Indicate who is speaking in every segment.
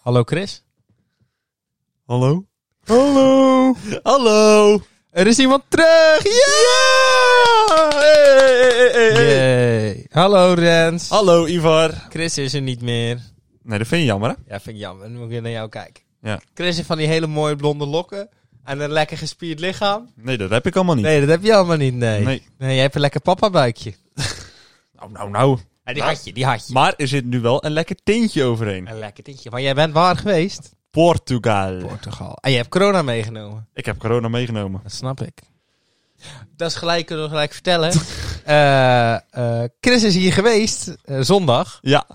Speaker 1: Hallo Chris.
Speaker 2: Hallo? Hallo! Hallo!
Speaker 1: Er is iemand terug!
Speaker 2: Ja! Hey, hey, hey, hey.
Speaker 1: Yay! Hallo Rens.
Speaker 2: Hallo Ivar.
Speaker 1: Chris is er niet meer.
Speaker 2: Nee, dat vind je jammer hè?
Speaker 1: Ja, vind ik jammer. Dan moet ik weer naar jou kijken.
Speaker 2: Ja.
Speaker 1: Chris heeft van die hele mooie blonde lokken. En een lekker gespierd lichaam.
Speaker 2: Nee, dat heb ik allemaal niet.
Speaker 1: Nee, dat heb je allemaal niet, nee.
Speaker 2: Nee.
Speaker 1: jij hebt een lekker papa buikje.
Speaker 2: Nou, nou, nou.
Speaker 1: En die had je, die had je.
Speaker 2: Maar er zit nu wel een lekker tintje overheen.
Speaker 1: Een lekker tintje. Maar jij bent waar geweest?
Speaker 2: Portugal.
Speaker 1: Portugal. En je hebt corona meegenomen.
Speaker 2: Ik heb corona meegenomen.
Speaker 1: Dat snap ik. Dat is gelijk, kunnen we gelijk vertellen. Eh, eh, Chris is hier geweest, eh, zondag.
Speaker 2: Ja.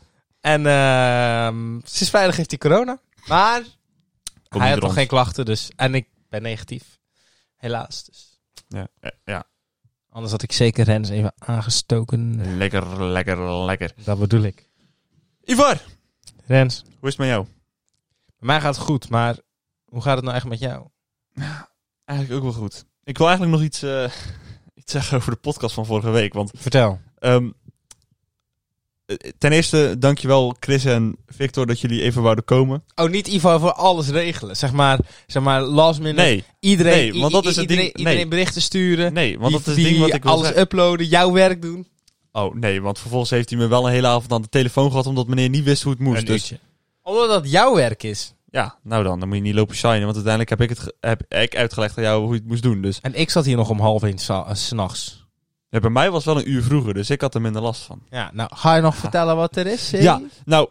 Speaker 1: En ehm sinds vrijdag heeft hij corona. Maar hij
Speaker 2: niet
Speaker 1: had nog
Speaker 2: rond.
Speaker 1: geen klachten, dus. En ik ben negatief. Helaas. Dus.
Speaker 2: Ja. Ja, ja.
Speaker 1: Anders had ik zeker Rens even aangestoken.
Speaker 2: Lekker, lekker, lekker.
Speaker 1: Dat bedoel ik.
Speaker 2: Ivar,
Speaker 1: Rens,
Speaker 2: hoe is het met jou?
Speaker 1: bij mij gaat het goed, maar hoe gaat het nou echt met jou?
Speaker 2: Eigenlijk ook wel goed. Ik wil eigenlijk nog iets, eh, iets zeggen over de podcast van vorige week. Want
Speaker 1: Vertel.
Speaker 2: Ehm, eh, ten eerste, dankjewel Chris en Victor dat jullie even wouden komen.
Speaker 1: Oh, niet Ivo voor alles regelen. Zeg maar, zeg maar last minute.
Speaker 2: Nee,
Speaker 1: Iedereen,
Speaker 2: nee, want dat
Speaker 1: i- i-
Speaker 2: is het
Speaker 1: iedereen,
Speaker 2: ding- nee.
Speaker 1: iedereen berichten sturen.
Speaker 2: nee, want
Speaker 1: Die-
Speaker 2: dat is het ding
Speaker 1: die
Speaker 2: wat ik wil
Speaker 1: Alles
Speaker 2: zeggen.
Speaker 1: uploaden, jouw werk doen.
Speaker 2: Oh nee, want vervolgens heeft hij me wel een hele avond aan de telefoon gehad omdat meneer niet wist hoe het moest. dus
Speaker 1: Omdat dat jouw werk is.
Speaker 2: ja, nou dan, dan moet je niet lopen shinen, want uiteindelijk heb ik het ge- heb ik uitgelegd aan jou hoe je het moest doen. Dus
Speaker 1: En ik zat hier nog om half één sa- eh, s'nachts.
Speaker 2: ja, bij mij was het wel een uur vroeger, dus ik had er minder last van.
Speaker 1: Ja, nou, ga je nog vertellen wat er is? Zee?
Speaker 2: Ja. Nou,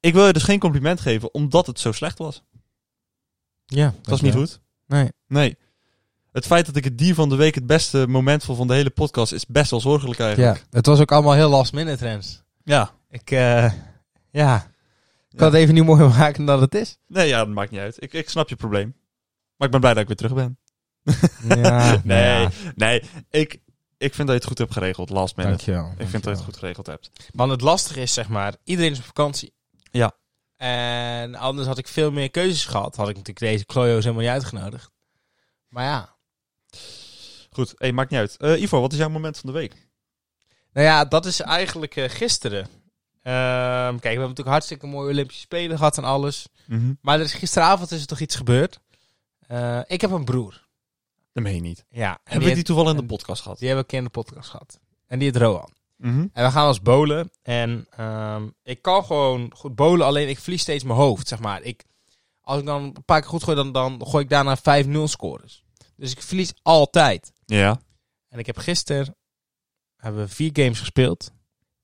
Speaker 2: ik wil je dus geen compliment geven omdat het zo slecht was.
Speaker 1: ja
Speaker 2: Het was niet goed.
Speaker 1: Nee.
Speaker 2: Nee. Het feit dat ik het dier van de week het beste moment vond van de hele podcast is best wel zorgelijk eigenlijk.
Speaker 1: Ja, het was ook allemaal heel last minute, Rens.
Speaker 2: ja.
Speaker 1: Ik, eh, ja, ik
Speaker 2: Ja.
Speaker 1: kan het even niet mooier maken dan het is.
Speaker 2: Nee, ja, dat maakt niet uit. Ik, ik snap je probleem. Maar ik ben blij dat ik weer terug ben.
Speaker 1: Ja,
Speaker 2: Nee,
Speaker 1: ja,
Speaker 2: nee. Ik, ik vind dat je het goed hebt geregeld, last minute.
Speaker 1: dankjewel.
Speaker 2: Ik vind dat je het goed geregeld hebt.
Speaker 1: Want het lastige is, zeg maar, iedereen is op vakantie.
Speaker 2: Ja.
Speaker 1: En anders had ik veel meer keuzes gehad. Had ik natuurlijk deze klojo's helemaal niet uitgenodigd. Maar ja,
Speaker 2: Goed, hey, maakt niet uit. Eh Ivo, wat is jouw moment van de week?
Speaker 1: Nou ja, dat is eigenlijk eh, gisteren. Ehm, kijk, we hebben natuurlijk hartstikke mooie Olympische Spelen gehad en alles.
Speaker 2: Mhm.
Speaker 1: Maar er is, gisteravond is er toch iets gebeurd. Eh, ik heb een broer.
Speaker 2: Dat meen je niet.
Speaker 1: Ja. en
Speaker 2: Hebben we die
Speaker 1: heeft-
Speaker 2: toevallig in de podcast gehad?
Speaker 1: Die hebben we een keer in de podcast gehad. En die heet Roan.
Speaker 2: Mhm.
Speaker 1: En we gaan als bolen. En ehm, ik kan gewoon goed bolen, alleen ik verlies steeds mijn hoofd, zeg maar. Ik, als ik dan een paar keer goed gooi, dan, dan gooi ik daarna 5-0 scores. Dus ik verlies altijd.
Speaker 2: Ja.
Speaker 1: En ik heb gisteren hebben we vier games gespeeld.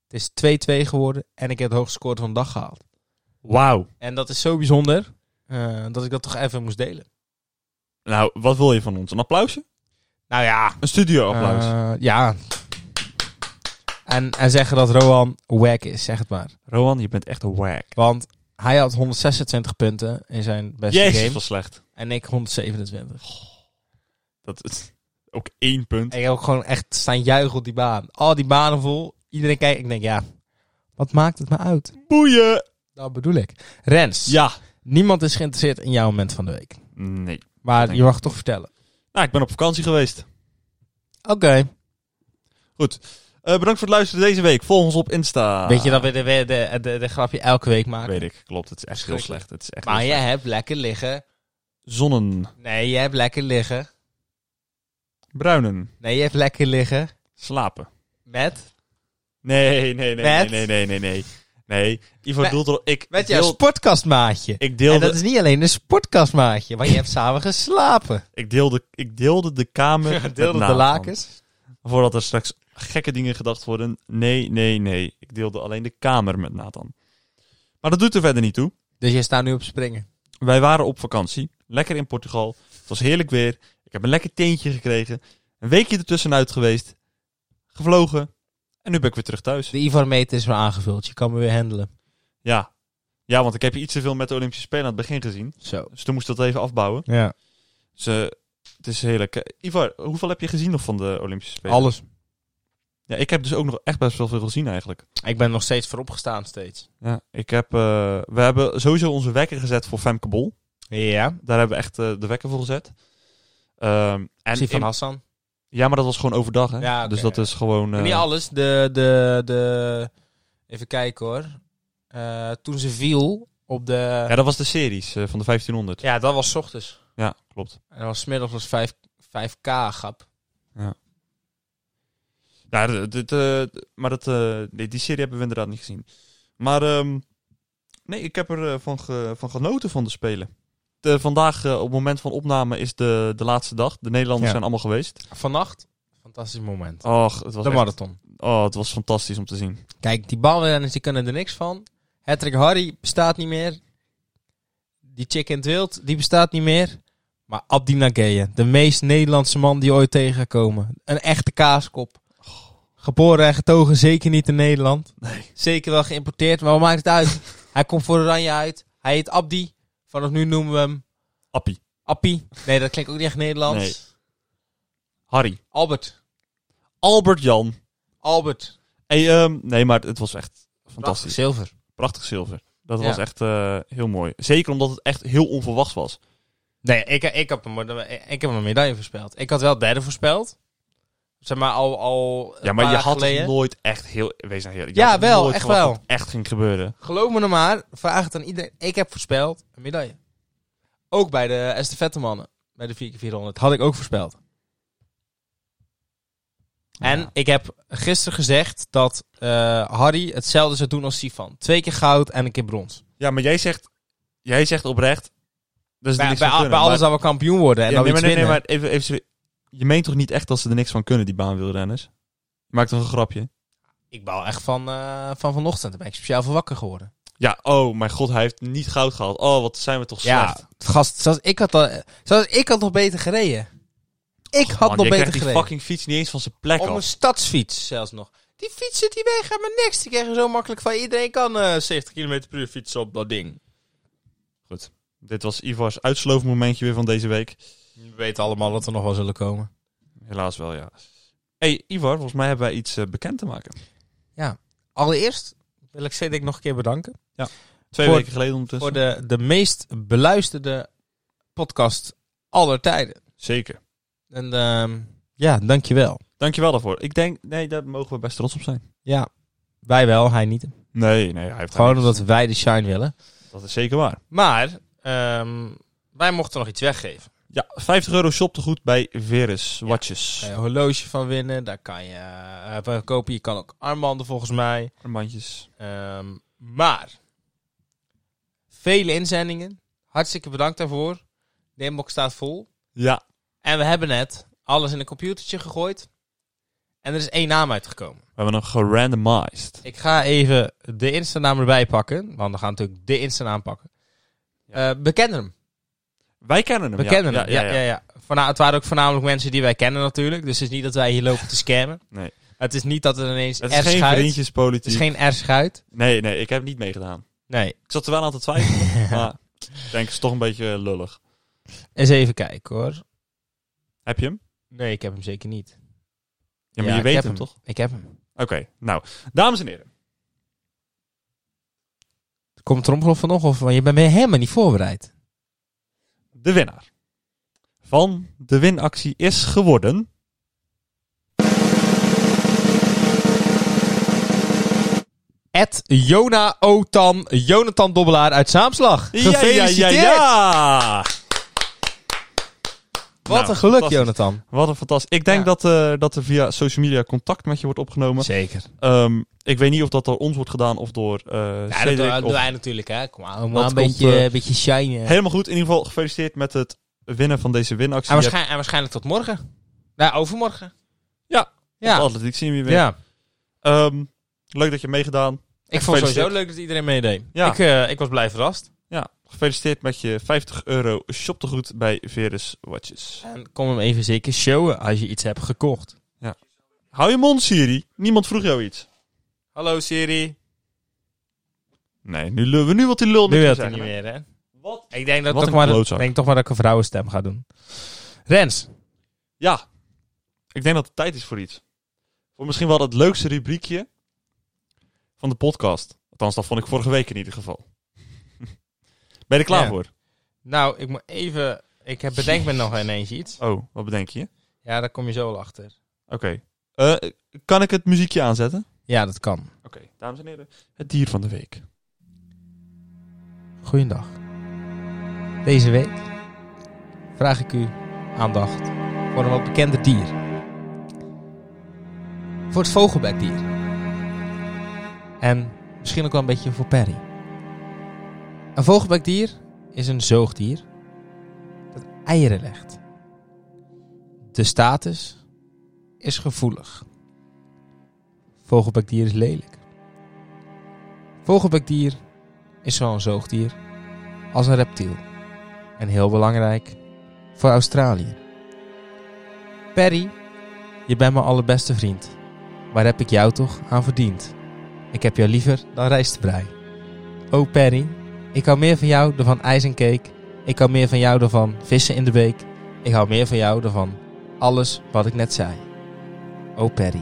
Speaker 1: Het is 2-2 geworden en ik heb het hoogste score van de dag gehaald.
Speaker 2: Wauw.
Speaker 1: En dat is zo bijzonder eh, dat ik dat toch even moest delen.
Speaker 2: Nou, wat wil je van ons? Een applausje?
Speaker 1: Nou ja,
Speaker 2: Een studio-applaus.
Speaker 1: eh, ja. En, en zeggen dat Rohan wack is, zeg het maar.
Speaker 2: Roan, je bent echt een whack.
Speaker 1: Want hij had 126 punten in zijn beste
Speaker 2: Jezus,
Speaker 1: game
Speaker 2: wat slecht.
Speaker 1: en ik 127.
Speaker 2: Dat is ook één punt.
Speaker 1: En ik heb ook gewoon echt staan juichen op die baan. Al die banen vol. Iedereen kijkt. Ik denk, ja, wat maakt het me uit?
Speaker 2: Boeien!
Speaker 1: Dat bedoel ik. Rens.
Speaker 2: Ja.
Speaker 1: Niemand is geïnteresseerd in jouw moment van de week.
Speaker 2: Nee.
Speaker 1: Maar
Speaker 2: Denk
Speaker 1: je mag het toch vertellen.
Speaker 2: Nou, ik ben op vakantie geweest.
Speaker 1: Oké.
Speaker 2: Eh, bedankt voor het luisteren deze week. Volg ons op Insta.
Speaker 1: Weet je dat we de, de, de, de, de grapje elke week maken?
Speaker 2: Weet ik, klopt. Het is echt heel
Speaker 1: Verschrikkelijk.
Speaker 2: slecht. Het is echt
Speaker 1: maar
Speaker 2: heel
Speaker 1: jij hebt lekker liggen.
Speaker 2: slecht. Zonnen,
Speaker 1: Nee, jij hebt lekker liggen.
Speaker 2: bruinen,
Speaker 1: Nee, je hebt lekker liggen.
Speaker 2: slapen.
Speaker 1: Met?
Speaker 2: Nee, nee, nee,
Speaker 1: Met?
Speaker 2: nee, nee, nee, nee. Nee, Ivo
Speaker 1: Met-
Speaker 2: doelt erop. Ik
Speaker 1: Met jouw
Speaker 2: deel,
Speaker 1: sportkastmaatje.
Speaker 2: ik,
Speaker 1: En
Speaker 2: deelde,
Speaker 1: dat is niet alleen een sportkastmaatje, maar je hebt samen geslapen.
Speaker 2: ik, deelde, ik deelde de kamer
Speaker 1: Je
Speaker 2: met
Speaker 1: deelde de
Speaker 2: Nathan.
Speaker 1: lakens.
Speaker 2: Voordat er straks gekke dingen gedacht worden. Nee, nee, nee. Ik deelde alleen de kamer met Nathan. Maar dat doet er verder niet toe.
Speaker 1: Dus je staat nu op springen.
Speaker 2: Wij waren op vakantie. Lekker in Portugal. Het was heerlijk weer. Ik heb een lekker teentje gekregen. Een weekje ertussenuit geweest. Gevlogen. En nu ben ik weer terug thuis.
Speaker 1: De Ivar-meter is weer aangevuld. Je kan me weer handelen.
Speaker 2: Ja. Ja, want ik heb iets te veel met de Olympische Spelen aan het begin gezien.
Speaker 1: Zo.
Speaker 2: Dus toen moest ik dat even afbouwen.
Speaker 1: Ja.
Speaker 2: Dus eh, het is heerlijk. Eh, Ivar, hoeveel heb je gezien nog van de Olympische Spelen?
Speaker 1: Alles.
Speaker 2: Ja, ik heb dus ook nog echt best wel veel gezien eigenlijk.
Speaker 1: Ik ben nog steeds vooropgestaan steeds.
Speaker 2: Ja, ik heb... eh, we hebben sowieso onze wekker gezet voor Femke Bol.
Speaker 1: Ja.
Speaker 2: Daar hebben we echt eh, de wekker voor gezet. Ehm, en
Speaker 1: Zie van
Speaker 2: in-
Speaker 1: Hassan.
Speaker 2: ja, maar dat was gewoon overdag, hè?
Speaker 1: Ja, oké,
Speaker 2: dus dat
Speaker 1: ja.
Speaker 2: is gewoon... eh,
Speaker 1: Maar Niet alles. De, de, de, even kijken hoor. Eh, toen ze viel, op de...
Speaker 2: Ja, dat was de series eh, van de 1500. Ja,
Speaker 1: Ja, dat was 's ochtends.
Speaker 2: klopt.
Speaker 1: En dat was 's middags was 5, 5k grap.
Speaker 2: Ja, d- d- eh, d- maar dat, eh, nee, die serie hebben we inderdaad niet gezien. Maar ehm, nee, ik heb er eh, van, ge- van genoten van de Spelen. De, vandaag, eh, op het moment van opname, is de, de laatste dag. De Nederlanders
Speaker 1: Ja.
Speaker 2: zijn allemaal geweest.
Speaker 1: Vannacht, fantastisch moment.
Speaker 2: Och, het was,
Speaker 1: de
Speaker 2: echt-
Speaker 1: marathon.
Speaker 2: oh, het was fantastisch om te zien.
Speaker 1: Kijk, die balrenners die kunnen er niks van. Hattrick Harry bestaat niet meer. Die chick in het wild, die bestaat niet meer. Maar Abdi Nageye, de meest Nederlandse man die ooit tegen gaat komen. Een echte kaaskop. Geboren en getogen, zeker niet in Nederland.
Speaker 2: Nee.
Speaker 1: Zeker wel geïmporteerd, maar wat maakt het uit? Hij komt voor Oranje uit. Hij heet Abdi. Vanaf nu noemen we hem
Speaker 2: Appie.
Speaker 1: Appie. Nee, dat klinkt ook niet echt Nederlands.
Speaker 2: Nee. Harry.
Speaker 1: Albert.
Speaker 2: Albert Jan.
Speaker 1: Albert.
Speaker 2: Hey, ehm, nee, maar het was echt fantastisch.
Speaker 1: Zilver.
Speaker 2: Prachtig zilver. Dat
Speaker 1: Ja.
Speaker 2: was echt eh, heel mooi. Zeker omdat het echt heel onverwachts was.
Speaker 1: Nee, ik, ik, heb, een- ik heb een medaille voorspeld. Ik had wel derde voorspeld. Zeg maar al, al een
Speaker 2: Ja, maar
Speaker 1: paar
Speaker 2: je
Speaker 1: jaar
Speaker 2: had
Speaker 1: geleden.
Speaker 2: het nooit echt heel... Wees nou eerlijk. je
Speaker 1: Ja,
Speaker 2: had het
Speaker 1: wel,
Speaker 2: nooit
Speaker 1: echt
Speaker 2: verwacht
Speaker 1: wel.
Speaker 2: dat het echt ging gebeuren.
Speaker 1: Geloof me nou maar, vraag het aan iedereen. Ik heb voorspeld een medaille. Ook bij de estafettemannen. Bij de 4x400 had ik ook voorspeld. En ik heb gisteren gezegd dat eh, Harry hetzelfde zou doen als Sifan. Twee keer goud en een keer brons. Dus
Speaker 2: Ja, maar jij zegt, jij zegt oprecht... Dat is
Speaker 1: Bij,
Speaker 2: niks
Speaker 1: bij,
Speaker 2: van
Speaker 1: al-
Speaker 2: kunnen,
Speaker 1: bij alles
Speaker 2: maar,
Speaker 1: dat we kampioen worden en
Speaker 2: Ja,
Speaker 1: dan
Speaker 2: nee,
Speaker 1: iets
Speaker 2: maar, nee, nee,
Speaker 1: winnen.
Speaker 2: maar even, even... serie- Je meent toch niet echt dat ze er niks van kunnen, die baanwielrenners? Je maakt toch een grapje?
Speaker 1: Ik bouw echt van, eh, van vanochtend. Daar ben ik speciaal voor wakker geworden.
Speaker 2: Ja, oh mijn god, hij heeft niet goud gehaald. Oh, wat zijn we toch
Speaker 1: Ja,
Speaker 2: slecht.
Speaker 1: gast, zelfs ik had, al, zelfs ik had nog beter gereden. Ik had
Speaker 2: Man,
Speaker 1: nog
Speaker 2: jij
Speaker 1: beter
Speaker 2: krijgt die
Speaker 1: gereden.
Speaker 2: fucking fiets niet eens van zijn plek
Speaker 1: Op een
Speaker 2: af.
Speaker 1: stadsfiets zelfs nog. Die fiets zit hier weg, gaat maar niks. Die krijgen zo makkelijk van iedereen kan eh, 70 km per uur fietsen op dat ding.
Speaker 2: Dit was Ivar's uitsloofmomentje weer van deze week.
Speaker 1: We weten allemaal dat er nog wel zullen komen.
Speaker 2: Helaas wel, ja. hey, Ivar, volgens mij hebben wij iets eh, bekend te maken.
Speaker 1: Allereerst wil ik Cedric nog een keer bedanken.
Speaker 2: Twee
Speaker 1: Voor-
Speaker 2: weken geleden ondertussen.
Speaker 1: Voor de, de meest beluisterde podcast aller tijden.
Speaker 2: Zeker.
Speaker 1: En ehm ja, dankjewel.
Speaker 2: Dankjewel daarvoor. Ik denk, nee, daar mogen we best trots op zijn.
Speaker 1: Ja, wij wel, hij niet.
Speaker 2: Nee, nee, hij heeft
Speaker 1: Gewoon
Speaker 2: gelijk.
Speaker 1: omdat wij de shine willen.
Speaker 2: Dat is zeker waar.
Speaker 1: Maar ehm, wij mochten nog iets weggeven.
Speaker 2: Ja, 50 euro shoptegoed bij Verus Watches.
Speaker 1: Kan je een horloge van winnen. Daar kan je eh, van kopen. Je kan ook armbanden volgens mij.
Speaker 2: Armbandjes.
Speaker 1: Ehm, maar vele inzendingen. Hartstikke bedankt daarvoor. De inbox staat vol.
Speaker 2: Ja,
Speaker 1: En we hebben net alles in een computertje gegooid. En er is één naam uitgekomen.
Speaker 2: we hebben hem gerandomized.
Speaker 1: Ik ga even de Insta-naam erbij pakken. Want we gaan natuurlijk de Insta-naam pakken. Eh we kennen hem.
Speaker 2: Wij kennen hem.
Speaker 1: We
Speaker 2: ja.
Speaker 1: kennen hem.
Speaker 2: Ja, ja, ja.
Speaker 1: Voorna- het waren ook voornamelijk mensen die wij kennen natuurlijk. Dus het is niet dat wij hier lopen te scammen.
Speaker 2: Nee.
Speaker 1: Het is niet dat er ineens
Speaker 2: Het
Speaker 1: R
Speaker 2: is geen
Speaker 1: schuit.
Speaker 2: vriendjespolitiek.
Speaker 1: Het is geen R-schuit.
Speaker 2: Nee, nee, ik heb niet meegedaan.
Speaker 1: Nee.
Speaker 2: Ik zat er wel aan te twijfelen, maar ik denk het is toch een beetje eh, lullig.
Speaker 1: Eens even kijken hoor.
Speaker 2: Heb je hem?
Speaker 1: Nee, ik heb hem zeker niet.
Speaker 2: Ja, maar
Speaker 1: Ja,
Speaker 2: je
Speaker 1: ik
Speaker 2: weet
Speaker 1: heb
Speaker 2: hem,
Speaker 1: hem.
Speaker 2: toch?
Speaker 1: Ik heb hem.
Speaker 2: Oké, nou. Dames en heren.
Speaker 1: Komt Tromgelof van nog of want je bent me helemaal niet voorbereid.
Speaker 2: De winnaar van de winactie is geworden...
Speaker 1: Ed Jona Otan, Jonathan Dobbelaar uit Zaamslag. Gefeliciteerd!
Speaker 2: Ja, ja, ja, ja.
Speaker 1: Wat
Speaker 2: Nou,
Speaker 1: een geluk,
Speaker 2: fantastisch.
Speaker 1: Jonathan.
Speaker 2: Wat een fantastisch. Ik denk
Speaker 1: Ja.
Speaker 2: dat, eh, dat er via social media contact met je wordt opgenomen.
Speaker 1: Zeker.
Speaker 2: Ehm, ik weet niet of dat door ons wordt gedaan of door eh
Speaker 1: Ja, dat
Speaker 2: Cedric
Speaker 1: doen,
Speaker 2: of-
Speaker 1: doen wij natuurlijk, hè. Kom aan,
Speaker 2: Dat
Speaker 1: maar een
Speaker 2: komt,
Speaker 1: beetje,
Speaker 2: eh,
Speaker 1: een beetje shine. En,
Speaker 2: Helemaal goed. In ieder geval gefeliciteerd met het winnen van deze winactie. Je hebt
Speaker 1: waarschijn- en waarschijnlijk tot morgen. Nou, overmorgen.
Speaker 2: Ja.
Speaker 1: Ja.
Speaker 2: de atletiek zien we weer.
Speaker 1: ja.
Speaker 2: Ehm, leuk dat je hebt meegedaan.
Speaker 1: Ik vond het
Speaker 2: Gefeliciteerd.
Speaker 1: sowieso leuk dat iedereen meedeed.
Speaker 2: Ja.
Speaker 1: Ik, eh, ik was blij verrast.
Speaker 2: Ja, gefeliciteerd met je 50 euro shoptegoed bij Verus Watches.
Speaker 1: En kom hem even zeker showen als je iets hebt gekocht.
Speaker 2: Hou je mond, Siri. Niemand vroeg jou iets.
Speaker 1: Hallo Siri.
Speaker 2: Nee, nu, lul- nu wat die
Speaker 1: Nu
Speaker 2: lul niks
Speaker 1: wil het
Speaker 2: zeggen,
Speaker 1: niet
Speaker 2: hè?
Speaker 1: meer, hè?
Speaker 2: Wat?
Speaker 1: Ik denk, dat
Speaker 2: Wat
Speaker 1: toch
Speaker 2: een
Speaker 1: maar dat,
Speaker 2: klootzak.
Speaker 1: ik denk toch maar dat ik een vrouwenstem ga doen. Rens,
Speaker 2: Ja, ik denk dat het tijd is voor iets. Voor misschien wel het leukste rubriekje van de podcast. Althans, dat vond ik vorige week in ieder geval. ben je er klaar
Speaker 1: Ja.
Speaker 2: voor?
Speaker 1: nou, ik moet even... Ik heb bedenk me nog ineens iets.
Speaker 2: Oh, wat bedenk je?
Speaker 1: Ja, daar kom je zo wel achter.
Speaker 2: Oké. Eh, kan ik het muziekje aanzetten?
Speaker 1: Ja, dat kan.
Speaker 2: Oké, dames en heren. Het dier van de week.
Speaker 1: Goeiedag. Deze week vraag ik u aandacht voor een wat bekender dier. Voor het vogelbekdier. En misschien ook wel een beetje voor Perry. Een vogelbekdier is een zoogdier dat eieren legt. De status is gevoelig. Vogelbekdier is lelijk. Vogelbekdier is zo'n zoogdier als een reptiel. En heel belangrijk voor Australië. Perry, je bent mijn allerbeste vriend. Waar heb ik jou toch aan verdiend? Ik heb jou liever dan rijstbrei. Oh Perry, ik hou meer van jou dan van ijs en cake. Ik hou meer van jou dan van vissen in de beek. Ik hou meer van jou dan van alles wat ik net zei. Oh Perry.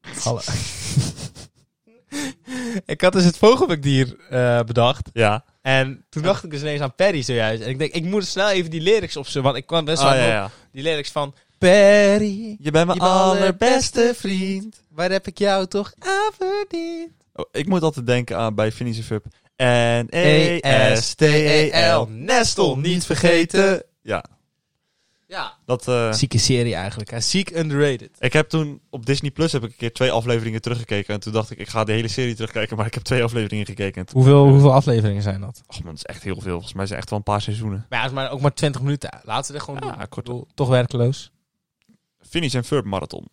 Speaker 1: Hallo. ik had dus het vogelbekdier eh, bedacht.
Speaker 2: Ja.
Speaker 1: En toen dacht ik dus ineens aan Perry zojuist. En ik denk, ik moet snel even die lyrics opzoeken. Want ik kwam best wel
Speaker 2: Ah, ja,
Speaker 1: op
Speaker 2: ja.
Speaker 1: die lyrics van... Perry,
Speaker 2: Je bent mijn
Speaker 1: Je bent
Speaker 2: allerbeste
Speaker 1: allerbeste
Speaker 2: vriend.
Speaker 1: waar heb ik jou toch aan verdiend?
Speaker 2: Oh, ik moet altijd denken aan bij Phineas en Ferb. E N-E-S-T-E-L. Nestel niet vergeten. Ja,
Speaker 1: Ja.
Speaker 2: dat... eh,
Speaker 1: Zieke serie eigenlijk. Hè. Ziek underrated.
Speaker 2: ik heb toen op Disney Plus heb ik een keer twee afleveringen teruggekeken. En toen dacht ik, ik ga de hele serie terugkijken. Maar ik heb twee afleveringen gekeken. En toen,
Speaker 1: Hoeveel, hoeveel afleveringen zijn dat?
Speaker 2: och man, dat is echt heel veel. Volgens mij zijn echt wel een paar seizoenen.
Speaker 1: Maar ja, het is maar ook maar 20 minuten. Laten we er gewoon doen.
Speaker 2: Ja,
Speaker 1: Ik
Speaker 2: kort.
Speaker 1: bedoel, toch werkloos.
Speaker 2: Phineas en Ferb marathon.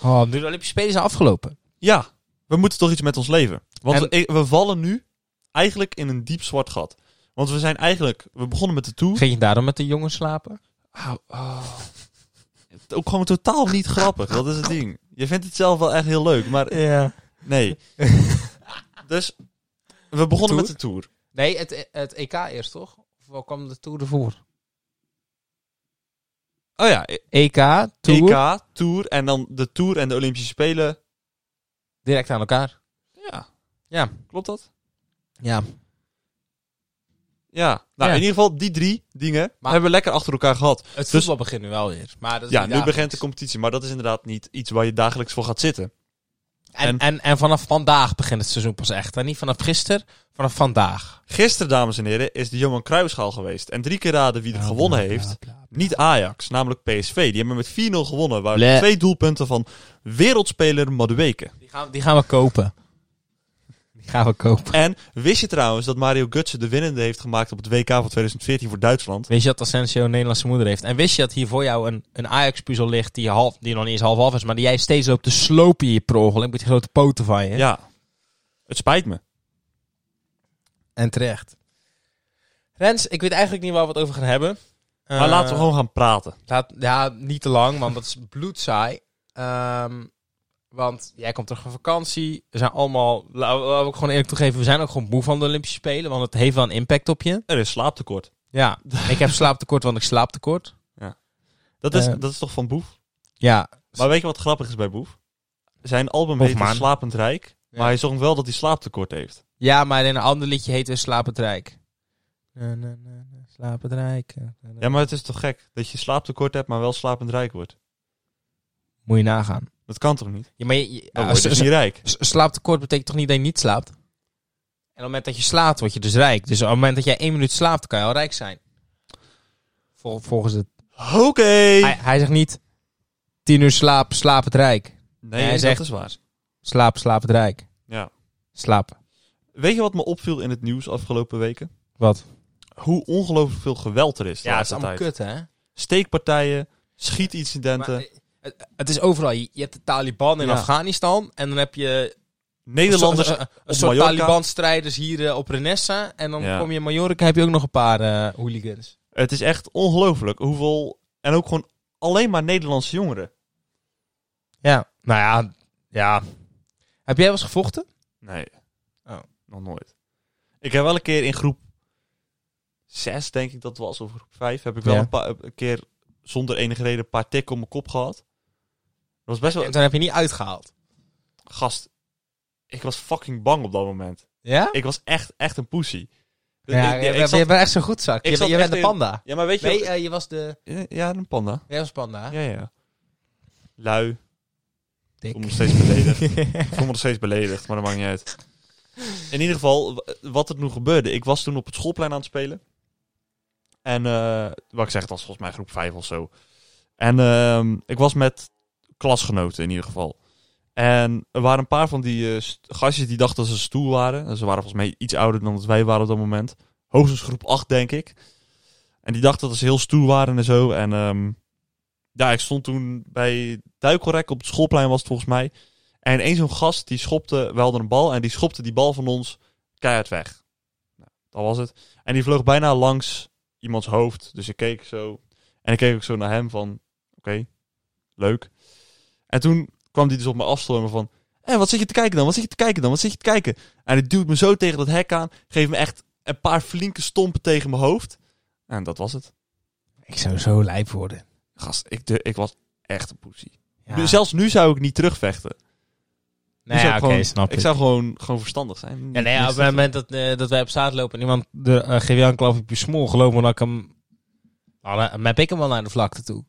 Speaker 1: Oh, nu de Olympische Spelen zijn afgelopen.
Speaker 2: Ja, we moeten toch iets met ons leven. Want
Speaker 1: En-
Speaker 2: we, we vallen nu eigenlijk in een diep zwart gat. Want we zijn eigenlijk... We begonnen met de Tour.
Speaker 1: Ging je daarom met de jongens slapen?
Speaker 2: Au, oh. Ook gewoon totaal niet grappig. Dat is het ding. Je vindt het zelf wel echt heel leuk, maar
Speaker 1: Ja.
Speaker 2: nee. dus we begonnen
Speaker 1: Tour?
Speaker 2: met de tour.
Speaker 1: Nee, het, het EK eerst toch? Of wel kwam de Tour ervoor?
Speaker 2: Oh ja, e-
Speaker 1: EK, Tour,
Speaker 2: EK, tour en dan de tour en de Olympische Spelen.
Speaker 1: direct aan elkaar.
Speaker 2: Ja.
Speaker 1: Ja.
Speaker 2: Klopt dat?
Speaker 1: Ja.
Speaker 2: Ja. Nou,
Speaker 1: Ja.
Speaker 2: in ieder geval die drie dingen
Speaker 1: Maar-
Speaker 2: hebben we lekker achter elkaar gehad.
Speaker 1: Het
Speaker 2: Dus-
Speaker 1: voetbal begint nu wel weer. Maar dat is
Speaker 2: Ja,
Speaker 1: niet
Speaker 2: nu begint
Speaker 1: dagelijks.
Speaker 2: de competitie, maar dat is inderdaad niet iets waar je dagelijks voor gaat zitten.
Speaker 1: En, en, en vanaf vandaag begint het seizoen pas echt. En niet vanaf gisteren, vanaf vandaag.
Speaker 2: Gisteren, dames en heren, is de Johan Cruijffschaal geweest. En drie keer raden wie er gewonnen heeft. Niet Ajax, namelijk PSV. Die hebben met 4-0 gewonnen. Waar
Speaker 1: Bleh.
Speaker 2: twee doelpunten van wereldspeler Madueke.
Speaker 1: Die gaan, die gaan we kopen. Die gaan we kopen.
Speaker 2: En wist je trouwens dat Mario Götze de winnende heeft gemaakt op het WK van 2014 voor Duitsland?
Speaker 1: Wist je dat Asensio een Nederlandse moeder heeft? En wist je dat hier voor jou een, een Ajax-puzzel ligt die, half, die nog niet eens half-half is, maar die jij steeds loopt te slopen in je per ongeluk met die grote poten van je?
Speaker 2: Ja. Het spijt me.
Speaker 1: En terecht. Rens, ik weet eigenlijk niet waar we het over gaan hebben.
Speaker 2: Maar
Speaker 1: Eh,
Speaker 2: laten we gewoon gaan praten.
Speaker 1: laat- ja, niet te lang, want dat is bloedzaai. Ehm, want jij komt terug van vakantie. We zijn allemaal, laten we- laten we ook gewoon eerlijk toegeven, we zijn ook gewoon moe van de Olympische Spelen, want het heeft wel een impact op je.
Speaker 2: Er is slaaptekort.
Speaker 1: Ja, ik heb slaaptekort, want ik slaap tekort.
Speaker 2: Dat is,
Speaker 1: Eh.
Speaker 2: dat is toch van Boef?
Speaker 1: Ja,
Speaker 2: Maar weet je wat grappig is bij Boef? Zijn album
Speaker 1: Boef,
Speaker 2: heet
Speaker 1: man.
Speaker 2: Slapend Rijk.
Speaker 1: Ja.
Speaker 2: Maar hij zongt wel dat hij slaaptekort heeft.
Speaker 1: Ja, maar in een ander liedje heet het Slapend Rijk. Na, na, na, na, Slapend Rijk. Na, na, na.
Speaker 2: Ja, maar het is toch gek dat je slaaptekort hebt, maar wel slapend rijk wordt?
Speaker 1: Moet je nagaan.
Speaker 2: Dat kan toch niet?
Speaker 1: Ja, maar je, je-
Speaker 2: Dan
Speaker 1: ja,
Speaker 2: word
Speaker 1: s-
Speaker 2: je dus
Speaker 1: s-
Speaker 2: niet rijk.
Speaker 1: s- slaaptekort betekent toch niet dat je niet slaapt? En op het moment dat je slaapt, word je dus rijk. Dus op het moment dat jij één minuut slaapt, kan je al rijk zijn. Vol- volgens het...
Speaker 2: Oké!
Speaker 1: Hij, hij zegt niet... Tien uur slaap, slaap het rijk.
Speaker 2: Nee,
Speaker 1: Hij
Speaker 2: dat
Speaker 1: zegt-
Speaker 2: is waar.
Speaker 1: Slaap, slaap het rijk.
Speaker 2: Ja.
Speaker 1: Slapen.
Speaker 2: Weet je wat me opviel in het nieuws afgelopen weken?
Speaker 1: Wat?
Speaker 2: Hoe ongelooflijk veel geweld er is. de
Speaker 1: Ja, het is
Speaker 2: laatste
Speaker 1: allemaal
Speaker 2: tijd.
Speaker 1: kut, hè?
Speaker 2: Steekpartijen, schietincidenten.
Speaker 1: Maar, eh, het, het is overal. Je, je hebt de Taliban in
Speaker 2: Ja.
Speaker 1: Afghanistan. En dan heb je
Speaker 2: Nederlanders.
Speaker 1: Een soort- een
Speaker 2: op
Speaker 1: soort
Speaker 2: Mallorca.
Speaker 1: Taliban-strijders hier eh, op Renessa. En dan
Speaker 2: Ja.
Speaker 1: kom je in Mallorca, heb je ook nog een paar eh, hooligans.
Speaker 2: Het is echt ongelooflijk hoeveel. En ook gewoon alleen maar Nederlandse jongeren.
Speaker 1: Ja, nou ja, ja. Heb jij wel eens gevochten?
Speaker 2: Nee.
Speaker 1: Oh.
Speaker 2: Nog nooit. Ik heb wel een keer in groep 6, denk ik dat het was, of groep 5, heb ik wel
Speaker 1: Ja.
Speaker 2: een, paar, een keer zonder enige reden een paar tikken op mijn kop gehad. Dat was best wel.
Speaker 1: En dan heb je niet uitgehaald.
Speaker 2: Gast, ik was fucking bang op dat moment.
Speaker 1: Ja?
Speaker 2: Ik was echt, echt een pussy. Dus
Speaker 1: Ja,
Speaker 2: ik-
Speaker 1: je,
Speaker 2: ik zat-
Speaker 1: je bent echt zo'n goed zak.
Speaker 2: ik
Speaker 1: Je,
Speaker 2: zat
Speaker 1: je bent
Speaker 2: echt
Speaker 1: de
Speaker 2: in-
Speaker 1: panda.
Speaker 2: ja, maar weet je...
Speaker 1: Nee, eh, je was de...
Speaker 2: Ja, een panda.
Speaker 1: Jij was panda.
Speaker 2: Ja, ja. Lui.
Speaker 1: Dik.
Speaker 2: Ik voel me steeds beledigd. Ik voel me nog steeds beledigd, maar dat maakt niet uit. In ieder geval, w- wat er toen gebeurde. Ik was toen op het schoolplein aan het spelen. En eh, wat ik zeg, dat was volgens mij groep 5 of zo. En ehm, ik was met klasgenoten in ieder geval. En er waren een paar van die eh, st- gastjes die dachten dat ze stoel waren. En ze waren volgens mij iets ouder dan dat wij waren op dat moment. Hoogstens groep 8, denk ik. En die dachten dat ze heel stoer waren en zo. En ehm, ja, ik stond toen bij Duikelrek op het schoolplein was het volgens mij. En één zo'n gast die schopte, we hadden een bal en die schopte die bal van ons keihard weg. Nou, dat was het. En die vloog bijna langs iemands hoofd. Dus ik keek zo. En ik keek ook zo naar hem van, oké, leuk. En toen kwam die dus op me afstormen van, hé, wat zit je te kijken dan? Wat zit je te kijken dan? Wat zit je te kijken? En die duwt me zo tegen dat hek aan, geeft me echt een paar flinke stompen tegen mijn hoofd. En dat was het.
Speaker 1: Ik zou zo lijp worden.
Speaker 2: Gast, ik, de, ik was echt een poesie.
Speaker 1: Ja. Dus
Speaker 2: Nu- Zelfs nu zou ik niet terugvechten. Nu
Speaker 1: nee, Nou
Speaker 2: zou
Speaker 1: ja,
Speaker 2: ik
Speaker 1: oké,
Speaker 2: gewoon-
Speaker 1: snap
Speaker 2: Ik zou gewoon, gewoon verstandig zijn.
Speaker 1: Ja, nee,
Speaker 2: Niks
Speaker 1: op het
Speaker 2: te-
Speaker 1: moment dat, eh, dat wij op straat lopen en iemand de eh GW een klap op je smoel, geloof me dat ik hem... Nou, dan map ik hem wel naar de vlakte toe.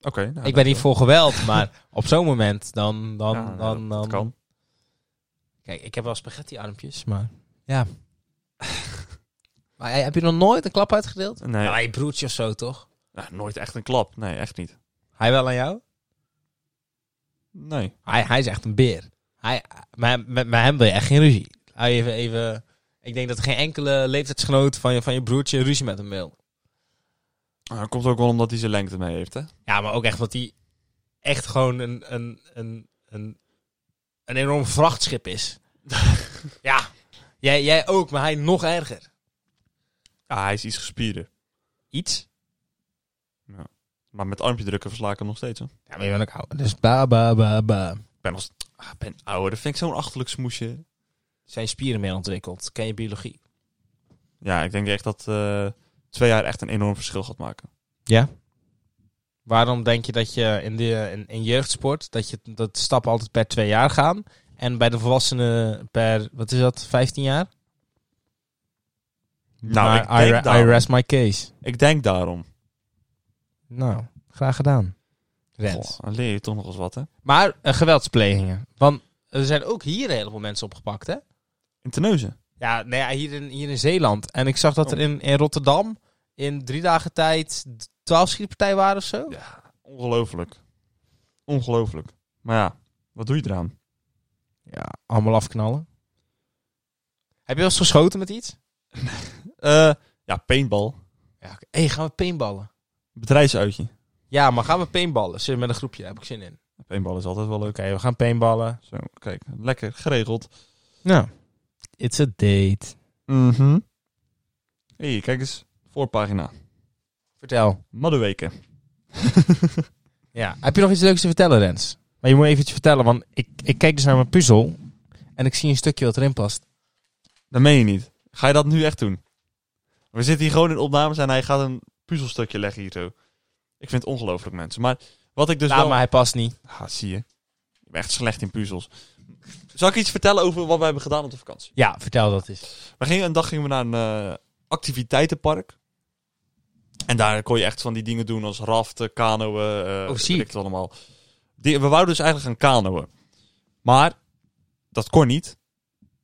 Speaker 2: Oké, nou,
Speaker 1: ik
Speaker 2: dat-
Speaker 1: ben niet voor geweld, maar op zo'n moment dan... dan,
Speaker 2: ja, nou,
Speaker 1: dan,
Speaker 2: dat
Speaker 1: dan
Speaker 2: kan.
Speaker 1: Kijk, ik heb wel spaghetti-armpjes, maar... Ja. maar eh, heb je nog nooit een klap uitgedeeld?
Speaker 2: Nee,
Speaker 1: Nou, je broertje of zo, toch?
Speaker 2: nou, nooit echt een klap. Nee, echt niet.
Speaker 1: Hij wel aan jou?
Speaker 2: Nee.
Speaker 1: Hij, hij is echt een beer. Hij, maar met, met hem wil je echt geen ruzie. Hou je Even, even, ik denk dat geen enkele leeftijdsgenoot van je, van je broertje ruzie met hem wil.
Speaker 2: Nou, dat komt ook wel omdat hij zijn lengte mee heeft, hè?
Speaker 1: Ja, maar ook echt dat hij echt gewoon een, een, een, een, een enorm vrachtschip is. ja, jij, jij ook, maar hij nog erger.
Speaker 2: Ja, hij is iets gespierder.
Speaker 1: Iets?
Speaker 2: Maar met armpje drukken versla ik hem nog steeds, hè?
Speaker 1: Ja, maar je bent ook oud. Dus ba, ba, ba, ba.
Speaker 2: Ik ben, als... ah, ik ben ouder. Dat vind ik zo'n achterlijk smoesje.
Speaker 1: Zijn spieren meer ontwikkeld. Ken je biologie?
Speaker 2: Ja, ik denk echt dat eh, twee jaar echt een enorm verschil gaat maken.
Speaker 1: Ja. Waarom denk je dat je in, de, in, in jeugdsport, dat, je, dat stappen altijd per twee jaar gaan? En bij de volwassenen per, wat is dat, 15 jaar?
Speaker 2: Nou,
Speaker 1: Maar
Speaker 2: ik denk
Speaker 1: Mm. I, re- I
Speaker 2: daarom.
Speaker 1: rest my case.
Speaker 2: Ik denk daarom.
Speaker 1: Nou, graag gedaan. Rens.
Speaker 2: Goh, dan leer je toch nog eens wat, hè?
Speaker 1: Maar eh, geweldsplegingen. Want er zijn ook hier een heleboel mensen opgepakt, hè?
Speaker 2: In Terneuzen.
Speaker 1: Ja, nee, ja, hier, in, hier in Zeeland. En ik zag dat
Speaker 2: Oh.
Speaker 1: er in, in Rotterdam in drie dagen tijd twaalf schietpartijen waren of zo.
Speaker 2: Ja, ongelooflijk. Ongelooflijk. Maar ja, wat doe je eraan?
Speaker 1: Ja, allemaal afknallen. Heb je wel eens geschoten met iets?
Speaker 2: Eh, ja, paintball.
Speaker 1: Ja, oké. hey, gaan we paintballen?
Speaker 2: Bedrijfsuitje.
Speaker 1: Ja, maar gaan we paintballen? Zit met een groepje, daar heb ik zin in. Oké,
Speaker 2: Paintball is altijd wel leuk.
Speaker 1: we gaan paintballen.
Speaker 2: Zo, kijk, lekker geregeld.
Speaker 1: Nou, it's a date.
Speaker 2: Mhm. hey, kijk eens. Voorpagina.
Speaker 1: Vertel.
Speaker 2: Madderweken.
Speaker 1: Ja, heb je nog iets leuks te vertellen, Rens? Maar je moet even iets vertellen, want ik, ik kijk dus naar mijn puzzel en ik zie een stukje wat erin past.
Speaker 2: Dat meen je niet. Ga je dat nu echt doen? We zitten hier gewoon in opnames en hij gaat een puzzelstukje leggen hier zo. Ik vind het ongelooflijk, mensen. Maar wat ik dus
Speaker 1: Laat
Speaker 2: wel...
Speaker 1: Nou, maar, hij past niet.
Speaker 2: Ah, zie je. Ik ben echt slecht in puzzels. Zal ik iets vertellen over wat we hebben gedaan op de vakantie?
Speaker 1: Ja, vertel dat eens.
Speaker 2: We gingen een dag gingen we naar een eh, activiteitenpark. En daar kon je echt van die dingen doen als raften, kanoën, eh weet
Speaker 1: ziek.
Speaker 2: ik het allemaal. Die, we wouden dus eigenlijk gaan kanoën. Maar dat kon niet.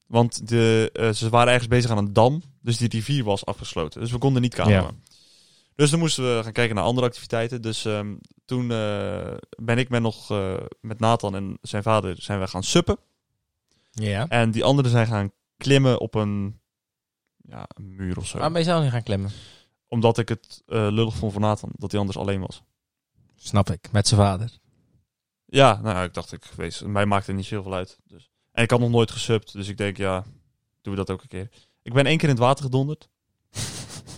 Speaker 2: Want de, eh, ze waren ergens bezig aan een dam. Dus die rivier was afgesloten. Dus we konden niet kanoën.
Speaker 1: Ja.
Speaker 2: Dus dan moesten we gaan kijken naar andere activiteiten. Dus ehm, toen eh, ben ik met nog eh, met Nathan en zijn vader zijn we gaan suppen.
Speaker 1: Ja.
Speaker 2: En die anderen zijn gaan klimmen op een, ja, een muur of zo.
Speaker 1: Waarom ben je zelf niet gaan klemmen?
Speaker 2: Omdat ik het eh, lullig vond van Nathan, dat hij anders alleen was.
Speaker 1: Snap ik, met zijn vader.
Speaker 2: Ja, nou ja, ik dacht, ik wees, mij maakt het niet zoveel uit. Dus. En ik had nog nooit gesubt, dus ik denk, ja, doen we dat ook een keer. Ik ben één keer in het water gedonderd.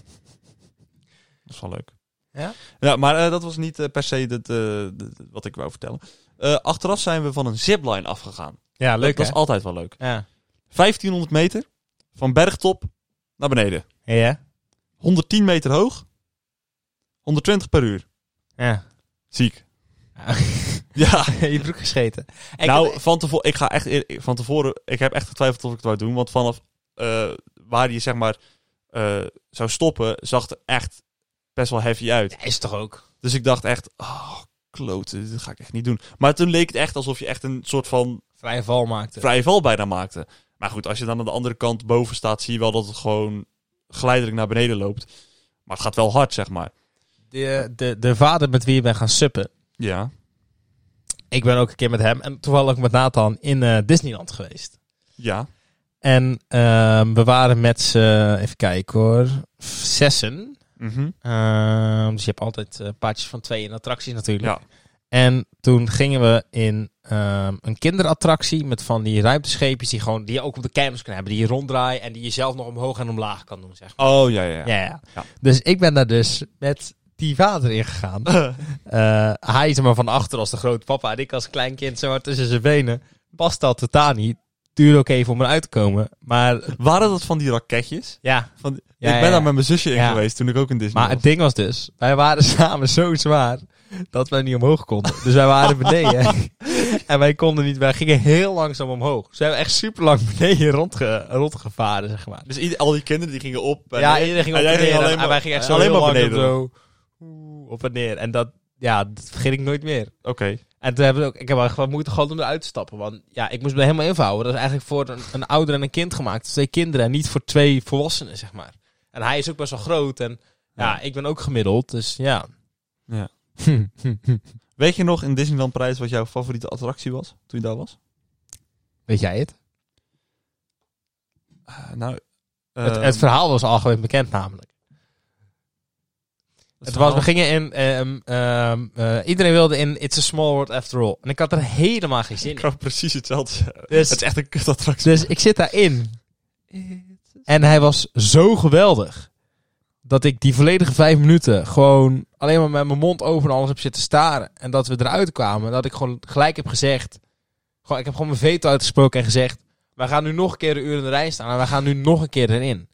Speaker 2: dat is wel leuk.
Speaker 1: Ja?
Speaker 2: Ja, maar eh, dat was niet eh, per se dat, eh, d- d- wat ik wou vertellen. Eh, achteraf zijn we van een zipline afgegaan.
Speaker 1: Ja, leuk
Speaker 2: dat is altijd wel leuk.
Speaker 1: Ja.
Speaker 2: 1500 meter, van bergtop naar beneden.
Speaker 1: Ja?
Speaker 2: 110 meter hoog. 120 per uur.
Speaker 1: Ja.
Speaker 2: Ziek. Ja.
Speaker 1: je broek gescheten. Ik
Speaker 2: nou,
Speaker 1: had-
Speaker 2: van tevoren, ik ga echt eer- van tevoren, ik heb echt getwijfeld of ik het wou doen, want vanaf eh, waar je zeg maar eh, zou stoppen, zag het er echt best wel heavy uit.
Speaker 1: Ja, is toch ook?
Speaker 2: Dus ik dacht echt, oh kloten, dit ga ik echt niet doen. Maar toen leek het echt alsof je echt een soort van
Speaker 1: Vrije val maakte.
Speaker 2: vrije val bijna maakte. Maar goed, als je dan aan de andere kant boven staat, zie je wel dat het gewoon geleidelijk naar beneden loopt. Maar het gaat wel hard, zeg maar.
Speaker 1: de, de, de vader met wie je bent gaan suppen.
Speaker 2: Ja.
Speaker 1: Ik ben ook een keer met hem en toevallig ook met Nathan in eh, Disneyland geweest.
Speaker 2: Ja.
Speaker 1: En ehm, we waren met z'n, even kijken hoor, f- zessen.
Speaker 2: Mhm.
Speaker 1: Ehm, dus je hebt altijd eh, paardjes van twee in attracties natuurlijk.
Speaker 2: Ja.
Speaker 1: En toen gingen we in ehm, een kinderattractie met van die ruimtescheepjes die, gewoon, die je ook op de kermis kan hebben. Die je ronddraaien en die je zelf nog omhoog en omlaag kan doen, zeg maar.
Speaker 2: Oh, ja, ja, ja.
Speaker 1: Ja, ja.
Speaker 2: Ja.
Speaker 1: Dus ik ben daar dus met die vader in gegaan. Eh, hij is er maar van achter als de grote papa. En ik als klein kind zomaar tussen zijn benen. Past dat totaal niet. Duurde ook even om eruit te komen. Maar
Speaker 2: Waren dat van die raketjes?
Speaker 1: ja,
Speaker 2: Van die-
Speaker 1: Ja,
Speaker 2: ik ben
Speaker 1: ja, ja.
Speaker 2: daar met mijn zusje in
Speaker 1: Ja.
Speaker 2: geweest toen ik ook in Disney
Speaker 1: Maar
Speaker 2: was.
Speaker 1: het ding was dus, wij waren samen zo zwaar dat wij niet omhoog konden. Dus wij waren beneden. en wij konden niet, wij gingen heel langzaam omhoog. Dus we hebben echt super lang beneden rondge, rondgevaren, zeg maar.
Speaker 2: Dus ieder- al die kinderen die gingen op. eh, en-
Speaker 1: ja, iedereen ging op
Speaker 2: en
Speaker 1: en
Speaker 2: jij
Speaker 1: neer.
Speaker 2: ging
Speaker 1: en-
Speaker 2: alleen
Speaker 1: en
Speaker 2: maar-
Speaker 1: wij gingen echt zo
Speaker 2: alleen
Speaker 1: heel
Speaker 2: maar
Speaker 1: langzaam
Speaker 2: beneden
Speaker 1: zo oeh, op en neer. En dat, ja, dat vergeet ik nooit meer.
Speaker 2: Oké.
Speaker 1: En toen hebben we ook, ik heb echt wel moeite gehad om eruit te stappen. Want ja, ik moest me helemaal invouwen. Dat is eigenlijk voor een, een ouder en een kind gemaakt. Dus Twee kinderen en niet voor twee volwassenen, zeg maar. En hij is ook best wel groot. En ja,
Speaker 2: Ja.
Speaker 1: ik ben ook gemiddeld. Dus ja.
Speaker 2: Ja.
Speaker 1: Hm.
Speaker 2: Weet je nog in Disneyland Parijs wat jouw favoriete attractie was toen je daar was?
Speaker 1: Weet jij het?
Speaker 2: Eh, nou,
Speaker 1: het?
Speaker 2: ehm,
Speaker 1: Het verhaal was algemeen bekend namelijk.
Speaker 2: het
Speaker 1: Het was,
Speaker 2: verhaal-
Speaker 1: we gingen in... ehm, ehm, eh, iedereen wilde in It's a Small World After All. En ik had er helemaal geen zin
Speaker 2: Ik
Speaker 1: in.
Speaker 2: wou precies hetzelfde zeggen.
Speaker 1: Dus-
Speaker 2: Het is echt een kutattractie.
Speaker 1: Dus ik zit daarin. En hij was zo geweldig. Dat ik die volledige vijf minuten gewoon alleen maar met mijn mond open en alles heb zitten staren. En dat we eruit kwamen. Dat ik gewoon gelijk heb gezegd. Gewoon, ik heb gewoon mijn veto uitgesproken en gezegd. Wij gaan nu nog een keer een uur in de rij staan. En wij gaan nu nog een keer erin.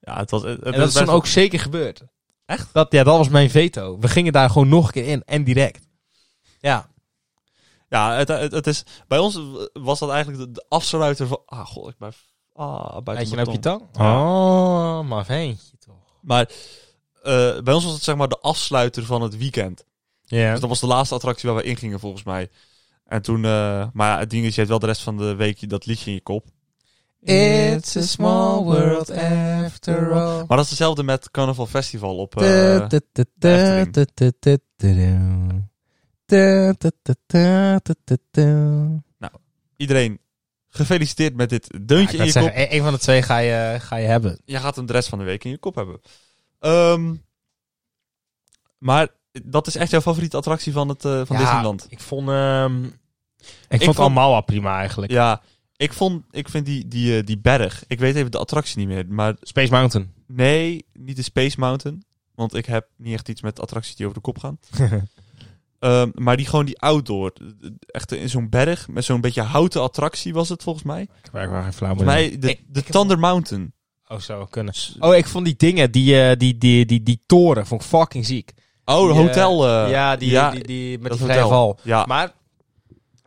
Speaker 2: Ja, het was, het, het
Speaker 1: En dat is
Speaker 2: best-
Speaker 1: toen ook zeker gebeurd. Echt? Dat, ja, dat was mijn veto. We gingen daar gewoon nog een keer in. En direct. Ja.
Speaker 2: Ja, het, het, het is, bij ons was dat eigenlijk de, de afsluiter van... Ah, god, ik ben... Ah,
Speaker 1: Weet
Speaker 2: buiten
Speaker 1: je
Speaker 2: mijn
Speaker 1: nou op je
Speaker 2: tong.
Speaker 1: tang? Oh, maar veentje toch.
Speaker 2: Maar eh, bij ons was het zeg maar de afsluiter van het weekend.
Speaker 1: Ja.
Speaker 2: Dus dat was de laatste attractie waar we in gingen, volgens mij. En toen... eh, maar ja, het ding is, je hebt wel de rest van de week dat liedje in je kop.
Speaker 1: It's a small world after all.
Speaker 2: Maar dat is hetzelfde met Carnaval Festival op...
Speaker 1: Du-
Speaker 2: eh,
Speaker 1: du- du- du-
Speaker 2: Efteling.
Speaker 1: du- du- du- du- du. Du- du- du- du- du- du- du.
Speaker 2: iedereen, gefeliciteerd met dit deuntje
Speaker 1: Ja,
Speaker 2: in
Speaker 1: ik
Speaker 2: je
Speaker 1: kan
Speaker 2: kop.
Speaker 1: zeggen, e- Een van de twee ga je, ga je hebben.
Speaker 2: je gaat hem de rest van de week in je kop hebben. Ehm, maar dat is echt jouw favoriete attractie van, het, eh, van
Speaker 1: Ja,
Speaker 2: Disneyland.
Speaker 1: Ik vond, ehm, ik vond,
Speaker 2: vond-
Speaker 1: Almawa prima eigenlijk.
Speaker 2: Ja, ik, vond, ik vind die, die, eh, die berg. Ik weet even de attractie niet meer. Maar
Speaker 1: Space Mountain.
Speaker 2: nee, niet de Space Mountain. Want ik heb niet echt iets met attracties die over de kop gaan. Ehm, maar die gewoon die outdoor. Echt in zo'n berg met zo'n beetje houten attractie was het volgens mij.
Speaker 1: ik heb eigenlijk geen flauw
Speaker 2: Volgens mij de,
Speaker 1: Ik-
Speaker 2: de
Speaker 1: ik heb-
Speaker 2: Thunder Mountain.
Speaker 1: Oh, zou kunnen. Oh, ik vond die dingen, die, eh, die, die, die, die toren, vond ik fucking ziek.
Speaker 2: Oh,
Speaker 1: Die,
Speaker 2: de
Speaker 1: eh,
Speaker 2: hotel. eh,
Speaker 1: ja, die,
Speaker 2: ja,
Speaker 1: die, die met
Speaker 2: dat
Speaker 1: die vrije
Speaker 2: hotel. Ah.
Speaker 1: val.
Speaker 2: Ja.
Speaker 1: Maar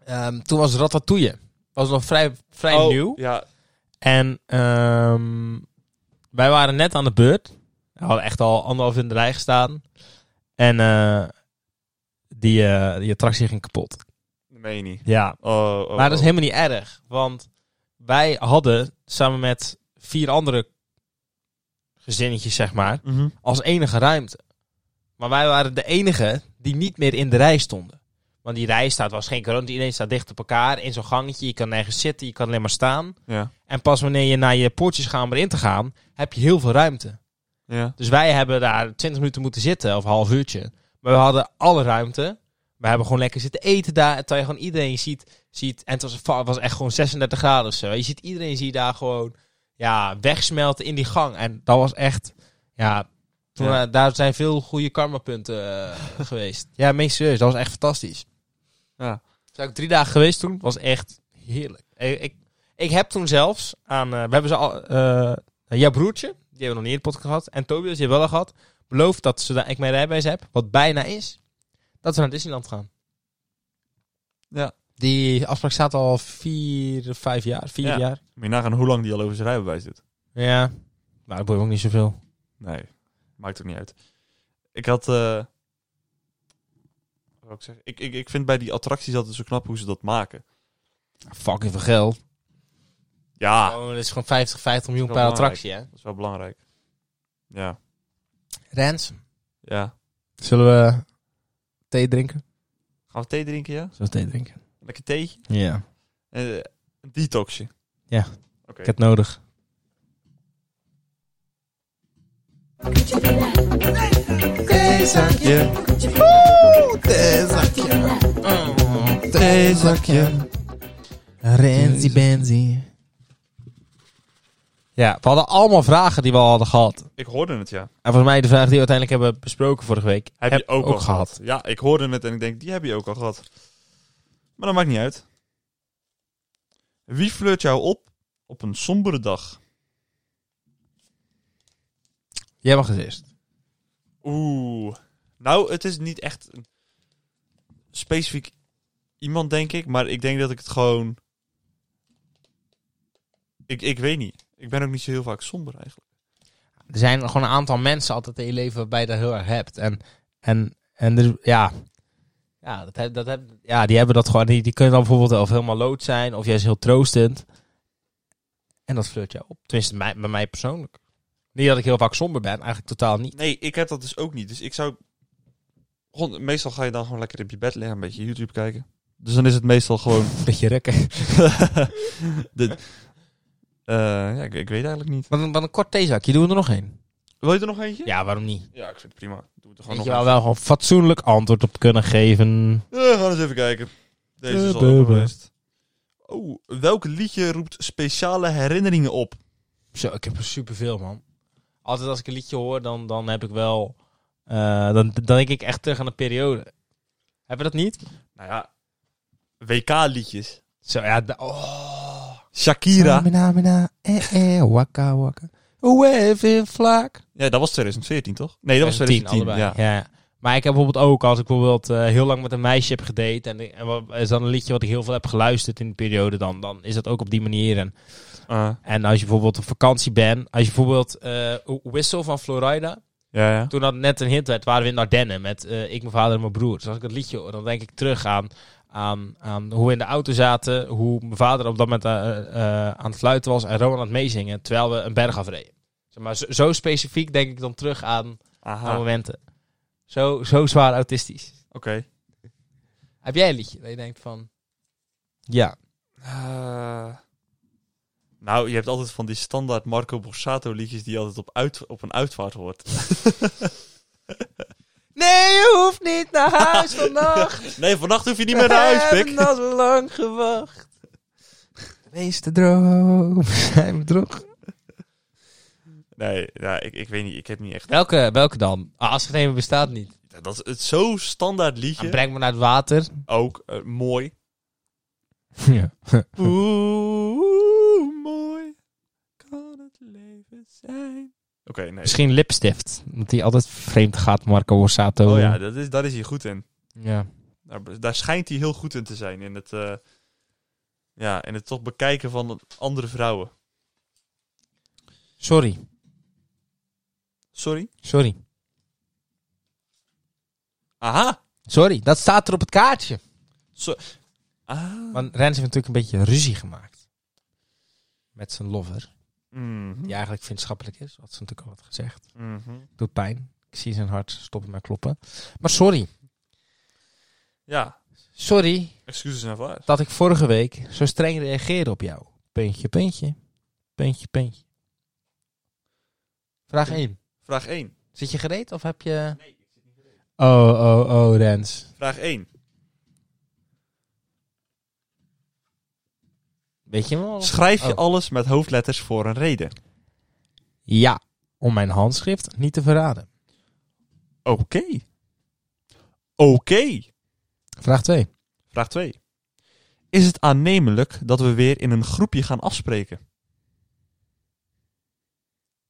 Speaker 1: ehm, toen was Ratatouille. Was nog vrij, vrij
Speaker 2: Oh,
Speaker 1: nieuw.
Speaker 2: Ja,
Speaker 1: En ehm, wij waren net aan de beurt. We hadden echt al anderhalf uur in de rij gestaan. En eh, die, eh, die attractie ging kapot.
Speaker 2: dat meen je niet.
Speaker 1: Ja.
Speaker 2: Oh, oh,
Speaker 1: maar dat is
Speaker 2: oh.
Speaker 1: helemaal niet erg. Want wij hadden samen met vier andere gezinnetjes, zeg maar,
Speaker 2: Mhm.
Speaker 1: als enige ruimte. Maar wij waren de enige die niet meer in de rij stonden. Want die rij staat was geen corona. Iedereen staat dicht op elkaar in zo'n gangetje. Je kan nergens zitten, je kan alleen maar staan.
Speaker 2: Ja.
Speaker 1: En pas wanneer je naar je poortjes gaat om erin te gaan, heb je heel veel ruimte.
Speaker 2: ja.
Speaker 1: Dus wij hebben daar 20 minuten moeten zitten, of een half uurtje. Maar we hadden alle ruimte. We hebben gewoon lekker zitten eten daar. En terwijl je gewoon iedereen ziet, ziet en het was, va- was echt gewoon 36 graden of zo. Je ziet iedereen zie je daar gewoon ja, wegsmelten in die gang. En dat was echt, ja, toen,
Speaker 2: Ja.
Speaker 1: eh, daar zijn veel goede karmapunten punten geweest. Ja, meen je serieus, dat was echt fantastisch.
Speaker 2: Ja.
Speaker 1: Zijn ook drie dagen geweest toen, was echt heerlijk. Ik, ik, ik heb toen zelfs aan, eh, we hebben ze al, eh, nou, Jouw broertje, die hebben we nog niet in de podcast gehad. En Tobias, die hebben we wel al gehad. Belooft dat zodra ik mijn rijbewijs heb, wat bijna is, dat we naar Disneyland gaan.
Speaker 2: Ja.
Speaker 1: Die afspraak staat al vier, vijf jaar. Vier
Speaker 2: Ja.
Speaker 1: jaar.
Speaker 2: Moet je nagaan hoe lang die al over zijn rijbewijs zit.
Speaker 1: Ja. Maar dat boeit me ook niet zoveel.
Speaker 2: Nee, maakt ook niet uit. Ik had... eh, zou ik zeggen. Ik, ik, ik vind bij die attracties altijd zo knap hoe ze dat maken.
Speaker 1: Fucking veel geld.
Speaker 2: Ja,
Speaker 1: Oh, dat is gewoon 50, 50 miljoen
Speaker 2: Dat
Speaker 1: per
Speaker 2: is wel
Speaker 1: attractie, hè?
Speaker 2: dat is wel belangrijk. Ja,
Speaker 1: Rens,
Speaker 2: ja.
Speaker 1: zullen we thee drinken?
Speaker 2: Gaan we thee drinken, ja?
Speaker 1: Zullen we thee drinken?
Speaker 2: Lekker theetje?
Speaker 1: Ja,
Speaker 2: Eh, een detoxje.
Speaker 1: Ja.
Speaker 2: Oké.
Speaker 1: ik heb het nodig.
Speaker 2: Theezakje, theezakje.
Speaker 1: Renzi Benzi. Ja, we hadden allemaal vragen die we al hadden gehad.
Speaker 2: Ik hoorde het, ja.
Speaker 1: En volgens mij de vraag die we uiteindelijk hebben besproken vorige week.
Speaker 2: Heb, je ook, al gehad. Ja, ik hoorde het en ik denk, die heb je ook al gehad. Maar dat maakt niet uit. Wie flirt jou op op een sombere dag?
Speaker 1: Jij mag het eerst.
Speaker 2: Oeh. Nou, het is niet echt een specifiek iemand, denk ik. Maar ik denk dat ik het gewoon... Ik, ik weet niet. Ik ben ook niet zo heel vaak somber eigenlijk.
Speaker 1: Er zijn gewoon een aantal mensen altijd in je leven waarbij je dat heel erg hebt. En, en, en er, ja, ja, dat heb, dat heb, ja, die hebben dat gewoon. Die, die kunnen dan bijvoorbeeld of helemaal lood zijn of juist heel troostend. En dat flirt jou op. Tenminste, mij, bij mij persoonlijk. Niet dat ik heel vaak somber ben, eigenlijk totaal niet.
Speaker 2: Nee, ik heb dat dus ook niet. Dus ik zou... Gewoon- Meestal ga je dan gewoon lekker op je bed liggen, een beetje YouTube kijken. Dus dan is het meestal gewoon
Speaker 1: Beetje rukken.
Speaker 2: De- Eh, ja, ik, ik weet eigenlijk niet.
Speaker 1: Wat een, wat een kort theezakje, doen we er nog één?
Speaker 2: Wil je er nog eentje?
Speaker 1: Ja, waarom niet?
Speaker 2: Ja, ik vind het prima. Doe het er
Speaker 1: Weet
Speaker 2: gewoon
Speaker 1: je
Speaker 2: nog
Speaker 1: wel, wel gewoon fatsoenlijk antwoord op kunnen geven.
Speaker 2: eentje. Eh, we gaan eens even kijken. Deze is al
Speaker 1: Eh, eh,
Speaker 2: over
Speaker 1: eh.
Speaker 2: geweest. Oh, welk liedje roept speciale herinneringen op?
Speaker 1: Zo, ik heb er superveel, man. Altijd als ik een liedje hoor, dan, dan heb ik wel... eh, dan, dan denk ik echt terug aan een periode. Hebben we dat niet?
Speaker 2: Nou ja, WK-liedjes.
Speaker 1: Zo, ja... da- Oh.
Speaker 2: Shakira.
Speaker 1: Mina, mina, eh, eh, waka, waka. Wave in vlak.
Speaker 2: Ja, dat was 2014, toch? Nee, dat was 2010. ja.
Speaker 1: ja. ja. Maar ik heb bijvoorbeeld ook, als ik bijvoorbeeld eh, heel lang met een meisje heb gedate... en, en wat- is dan een liedje wat ik heel veel heb geluisterd in die periode... dan, dan is dat ook op die manier. En,
Speaker 2: Eh,
Speaker 1: en als je bijvoorbeeld op vakantie bent... als je bijvoorbeeld eh, Whistle van Florida...
Speaker 2: ja, ja.
Speaker 1: toen dat net een hint werd, waren we in de Ardennen met eh, ik, mijn vader en mijn broer. Dus als ik dat liedje hoor, dan denk ik terug aan, aan, aan hoe we in de auto zaten, hoe mijn vader op dat moment eh, eh, aan het fluiten was en Rowan aan het meezingen, terwijl we een berg afreden. Zeg maar, zo, zo specifiek denk ik dan terug aan, aan
Speaker 2: Aha, oké.
Speaker 1: momenten. Zo, zo zwaar autistisch. Heb jij een liedje dat je denkt van... Ja.
Speaker 2: Eh, nou, je hebt altijd van die standaard Marco Borsato liedjes die je altijd op, uit, op een uitvaart hoort.
Speaker 1: Nee, je hoeft niet naar huis vannacht.
Speaker 2: Nee, vannacht hoef je niet meer naar huis, pik.
Speaker 1: al zo lang gewacht. De meeste droom zijn bedrog.
Speaker 2: Nee, ja, ik, ik weet niet. Ik heb niet echt...
Speaker 1: Welke, welke dan? Ah, als het even bestaat niet.
Speaker 2: Dat is het zo standaard
Speaker 1: Ah,
Speaker 2: liedje.
Speaker 1: breng me naar het water.
Speaker 2: Ook eh, mooi.
Speaker 1: Ja.
Speaker 2: Oeh, mooi kan het leven zijn. Oké, nee.
Speaker 1: Misschien lipstift. Want die altijd vreemd gaat, Marco Borsato.
Speaker 2: Oh ja, dat is, daar is hij goed in.
Speaker 1: ja.
Speaker 2: Daar, daar schijnt hij heel goed in te zijn. In het, eh, ja, in het toch bekijken van andere vrouwen.
Speaker 1: Sorry.
Speaker 2: Sorry?
Speaker 1: Sorry.
Speaker 2: Aha!
Speaker 1: Sorry, dat staat er op het kaartje.
Speaker 2: Ah.
Speaker 1: Want Rens heeft natuurlijk een beetje ruzie gemaakt. Met zijn lover.
Speaker 2: Mhm.
Speaker 1: Die eigenlijk vriendschappelijk is. Had ze natuurlijk al wat gezegd.
Speaker 2: Mhm.
Speaker 1: Doet pijn. Ik zie zijn hart stoppen met kloppen. Maar sorry.
Speaker 2: Ja,
Speaker 1: Sorry
Speaker 2: excuses en vaar.
Speaker 1: dat ik vorige week zo streng reageerde op jou. Puntje, puntje. Puntje, puntje. Vraag 1.
Speaker 2: Vraag 1.
Speaker 1: Zit je gereed of heb je... Nee, ik zit niet gereed. Oh, oh, oh, Rens.
Speaker 2: Vraag 1.
Speaker 1: Weet je wel?
Speaker 2: Schrijf je
Speaker 1: Oh.
Speaker 2: alles met hoofdletters voor een reden?
Speaker 1: Ja, om mijn handschrift niet te verraden.
Speaker 2: Oké. Oké.
Speaker 1: Vraag 2.
Speaker 2: Vraag 2. Is het aannemelijk dat we weer in een groepje gaan afspreken?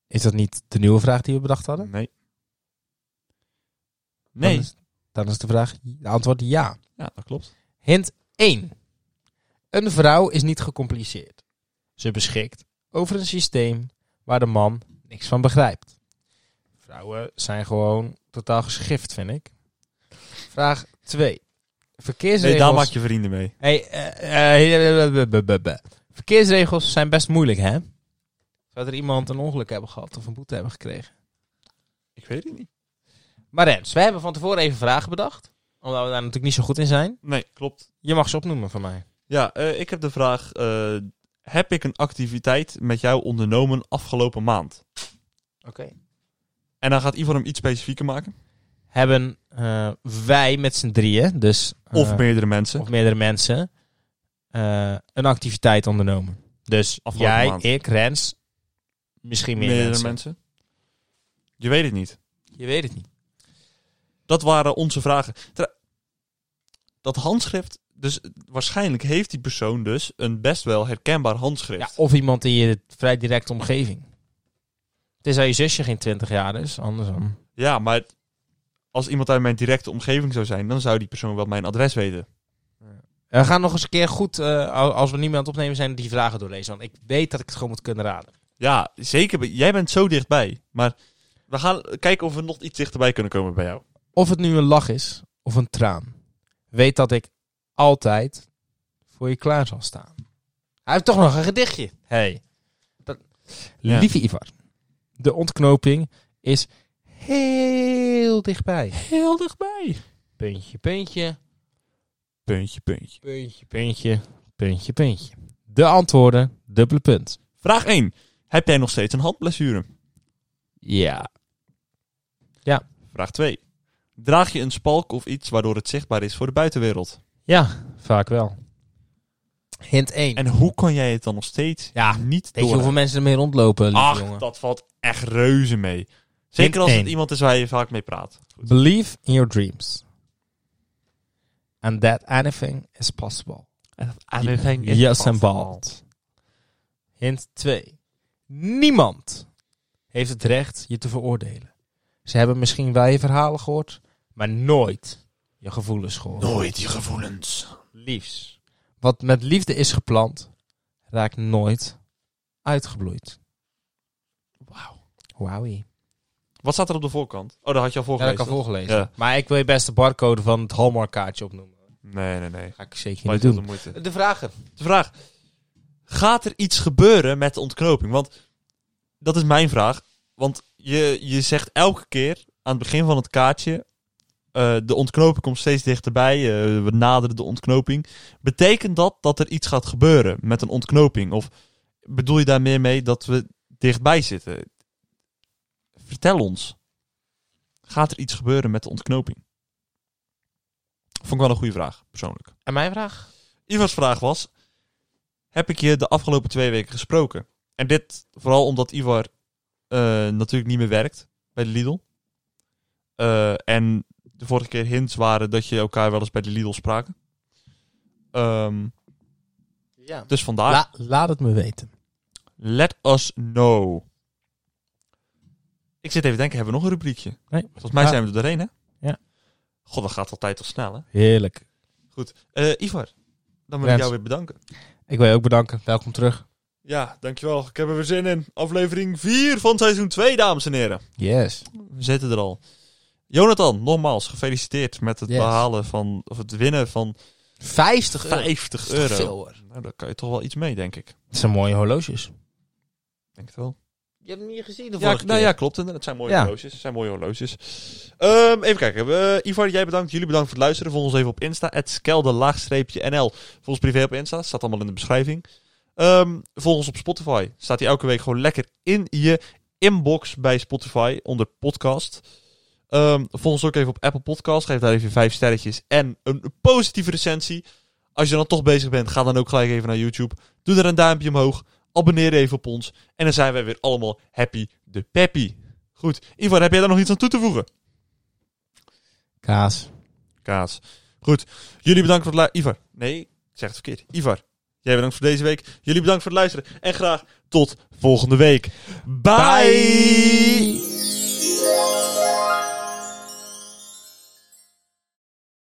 Speaker 1: Is dat niet de nieuwe vraag die we bedacht hadden?
Speaker 2: Nee.
Speaker 1: Dan
Speaker 2: Nee.
Speaker 1: is, dan is de vraag, de antwoord ja.
Speaker 2: Ja, dat klopt.
Speaker 1: Hint 1. Een vrouw is niet gecompliceerd. Ze beschikt over een systeem waar de man niks van begrijpt. Vrouwen zijn gewoon totaal geschift, vind ik. Vraag 2.
Speaker 2: Nee,
Speaker 1: Verkeersregels.
Speaker 2: daar maak je vrienden mee.
Speaker 1: Hey, eh, eh, eh, blablabla. Verkeersregels zijn best moeilijk, hè? Zou er iemand een ongeluk hebben gehad of een boete hebben gekregen?
Speaker 2: Ik weet het niet.
Speaker 1: Maar Rens, wij hebben van tevoren even vragen bedacht. Omdat we daar natuurlijk niet zo goed in zijn.
Speaker 2: Nee, klopt.
Speaker 1: Je mag ze opnoemen van mij.
Speaker 2: Ja, eh, ik heb de vraag. eh, heb ik een activiteit met jou ondernomen afgelopen maand?
Speaker 1: Oké.
Speaker 2: En dan gaat Ivan hem iets specifieker maken.
Speaker 1: Hebben eh, wij met z'n drieën, dus... eh,
Speaker 2: Of meerdere mensen.
Speaker 1: of meerdere mensen, eh, een activiteit ondernomen. Dus
Speaker 2: Afgelopen
Speaker 1: jij,
Speaker 2: maand.
Speaker 1: ik, Rens, misschien meer
Speaker 2: meerdere
Speaker 1: mensen.
Speaker 2: mensen. Je weet het niet.
Speaker 1: Je weet het niet.
Speaker 2: Dat waren onze vragen. Tra- dat handschrift, dus eh, waarschijnlijk heeft die persoon dus een best wel herkenbaar handschrift.
Speaker 1: Ja, of iemand in je vrij directe omgeving. Het is al je zusje geen 20 jaar is, anders dan.
Speaker 2: Ja, maar als iemand uit mijn directe omgeving zou zijn, dan zou die persoon wel mijn adres weten.
Speaker 1: We gaan nog eens een keer goed, eh, al- als we niet meer aan het opnemen zijn, die vragen doorlezen. Want ik weet dat ik het gewoon moet kunnen raden.
Speaker 2: Ja, zeker. be- Jij bent zo dichtbij. Maar we gaan kijken of we nog iets dichterbij kunnen komen bij jou.
Speaker 1: Of het nu een lach is of een traan, weet dat ik altijd voor je klaar zal staan. Hij heeft toch nog een gedichtje. Hey. Dat...
Speaker 2: Ja.
Speaker 1: Lieve Ivar, de ontknoping is heel dichtbij.
Speaker 2: Heel dichtbij.
Speaker 1: Puntje, puntje.
Speaker 2: Puntje, puntje.
Speaker 1: Puntje, puntje, puntje, puntje. De antwoorden, dubbele punt.
Speaker 2: Vraag 1. Heb jij nog steeds een handblessure?
Speaker 1: Ja.
Speaker 2: Vraag 2. Draag je een spalk of iets waardoor het zichtbaar is voor de buitenwereld?
Speaker 1: Ja, vaak wel. Hint 1.
Speaker 2: En hoe kan jij het dan nog steeds
Speaker 1: Ja,
Speaker 2: niet
Speaker 1: Weet je hoeveel
Speaker 2: door?
Speaker 1: mensen ermee rondlopen, lieve
Speaker 2: Ach,
Speaker 1: jongen?
Speaker 2: dat valt echt reuze mee. Zeker als
Speaker 1: één.
Speaker 2: het iemand is waar je vaak mee praat. Goed.
Speaker 1: Believe in your dreams. And that anything is possible. yes and bald. Hint 2. Niemand heeft het recht je te veroordelen. Ze hebben misschien wel je verhalen gehoord, maar nooit je gevoelens gehoord.
Speaker 2: Nooit die gevoelens.
Speaker 1: Liefs. Wat met liefde is geplant, raakt nooit uitgebloeid.
Speaker 2: Wauw.
Speaker 1: Wowie.
Speaker 2: Wat staat er op de voorkant? Oh, daar had je al
Speaker 1: Ja, dat kan
Speaker 2: voorgelezen.
Speaker 1: volgelezen.
Speaker 2: Ja.
Speaker 1: Maar ik wil je best de barcode van het Hallmark-kaartje opnoemen.
Speaker 2: nee, nee, nee.
Speaker 1: Ga ik zeker niet
Speaker 2: Blijft wel de
Speaker 1: doen.
Speaker 2: moeite.
Speaker 1: De vragen.
Speaker 2: De vraag: gaat er iets gebeuren met de ontknoping? Want dat is mijn vraag. Want je, je zegt elke keer aan het begin van het kaartje: eh, de ontknoping komt steeds dichterbij. eh, we naderen de ontknoping. Betekent dat dat er iets gaat gebeuren met een ontknoping? Of bedoel je daar meer mee dat we dichtbij zitten? Vertel ons. Gaat er iets gebeuren met de ontknoping? Vond ik wel een goede vraag, persoonlijk.
Speaker 1: En mijn vraag?
Speaker 2: Ivars vraag was: Heb ik je de afgelopen twee weken gesproken? En dit vooral omdat Ivar eh, natuurlijk niet meer werkt bij de Lidl. Eh, en de vorige keer hints waren dat je elkaar wel eens bij de Lidl spraken. Ehm,
Speaker 1: Ja.
Speaker 2: dus vandaar.
Speaker 1: laat het me weten.
Speaker 2: Let us know. Ik zit even te denken, hebben we nog een rubriekje?
Speaker 1: Nee.
Speaker 2: Volgens mij
Speaker 1: Ja.
Speaker 2: zijn we er doorheen, hè?
Speaker 1: Ja.
Speaker 2: God, dat gaat altijd toch snel, hè?
Speaker 1: Heerlijk.
Speaker 2: Eh, Ivar, dan wil ik
Speaker 1: Rens.
Speaker 2: jou weer bedanken.
Speaker 1: Ik wil je ook bedanken. Welkom terug.
Speaker 2: Ja, dankjewel. Ik heb er weer zin in. Aflevering 4 van seizoen 2, dames en heren.
Speaker 1: Yes.
Speaker 2: We zitten er al. Jonathan, nogmaals gefeliciteerd met het
Speaker 1: Yes.
Speaker 2: behalen van, of het winnen van
Speaker 1: 50 euro.
Speaker 2: 50
Speaker 1: Dat is toch
Speaker 2: euro.
Speaker 1: veel, hoor.
Speaker 2: Nou, daar kan je toch wel iets mee, denk ik.
Speaker 1: Dat zijn mooie horloges.
Speaker 2: Denk het wel.
Speaker 1: Je hebt hem hier gezien de
Speaker 2: Ja,
Speaker 1: vorige
Speaker 2: nou ja, klopt. inderdaad. Het zijn mooie
Speaker 1: Ja.
Speaker 2: horloges. Het zijn mooie horloges. Ehm, even kijken. We, Ivar, jij bedankt. Jullie bedankt voor het luisteren. Volg ons even op Insta. skelde-nl. Volg ons privé op Insta. Staat allemaal in de beschrijving. Ehm volg ons op Spotify. Staat hij elke week gewoon lekker in je inbox bij Spotify onder podcast. Ehm volg ons ook even op Apple Podcast. Geef daar even vijf sterretjes en een positieve recensie. Als je dan toch bezig bent, ga dan ook gelijk even naar YouTube. Doe er een duimpje omhoog. Abonneer even op ons. En dan zijn wij weer allemaal happy de peppy. Goed. Ivan, heb jij daar nog iets aan toe te voegen?
Speaker 1: Kaas.
Speaker 2: Kaas. Goed. Jullie bedankt voor het luisteren. Ivar. Nee, ik zeg het verkeerd. Ivar. Jij bedankt voor deze week. Jullie bedankt voor het luisteren. En graag tot volgende week. Bye.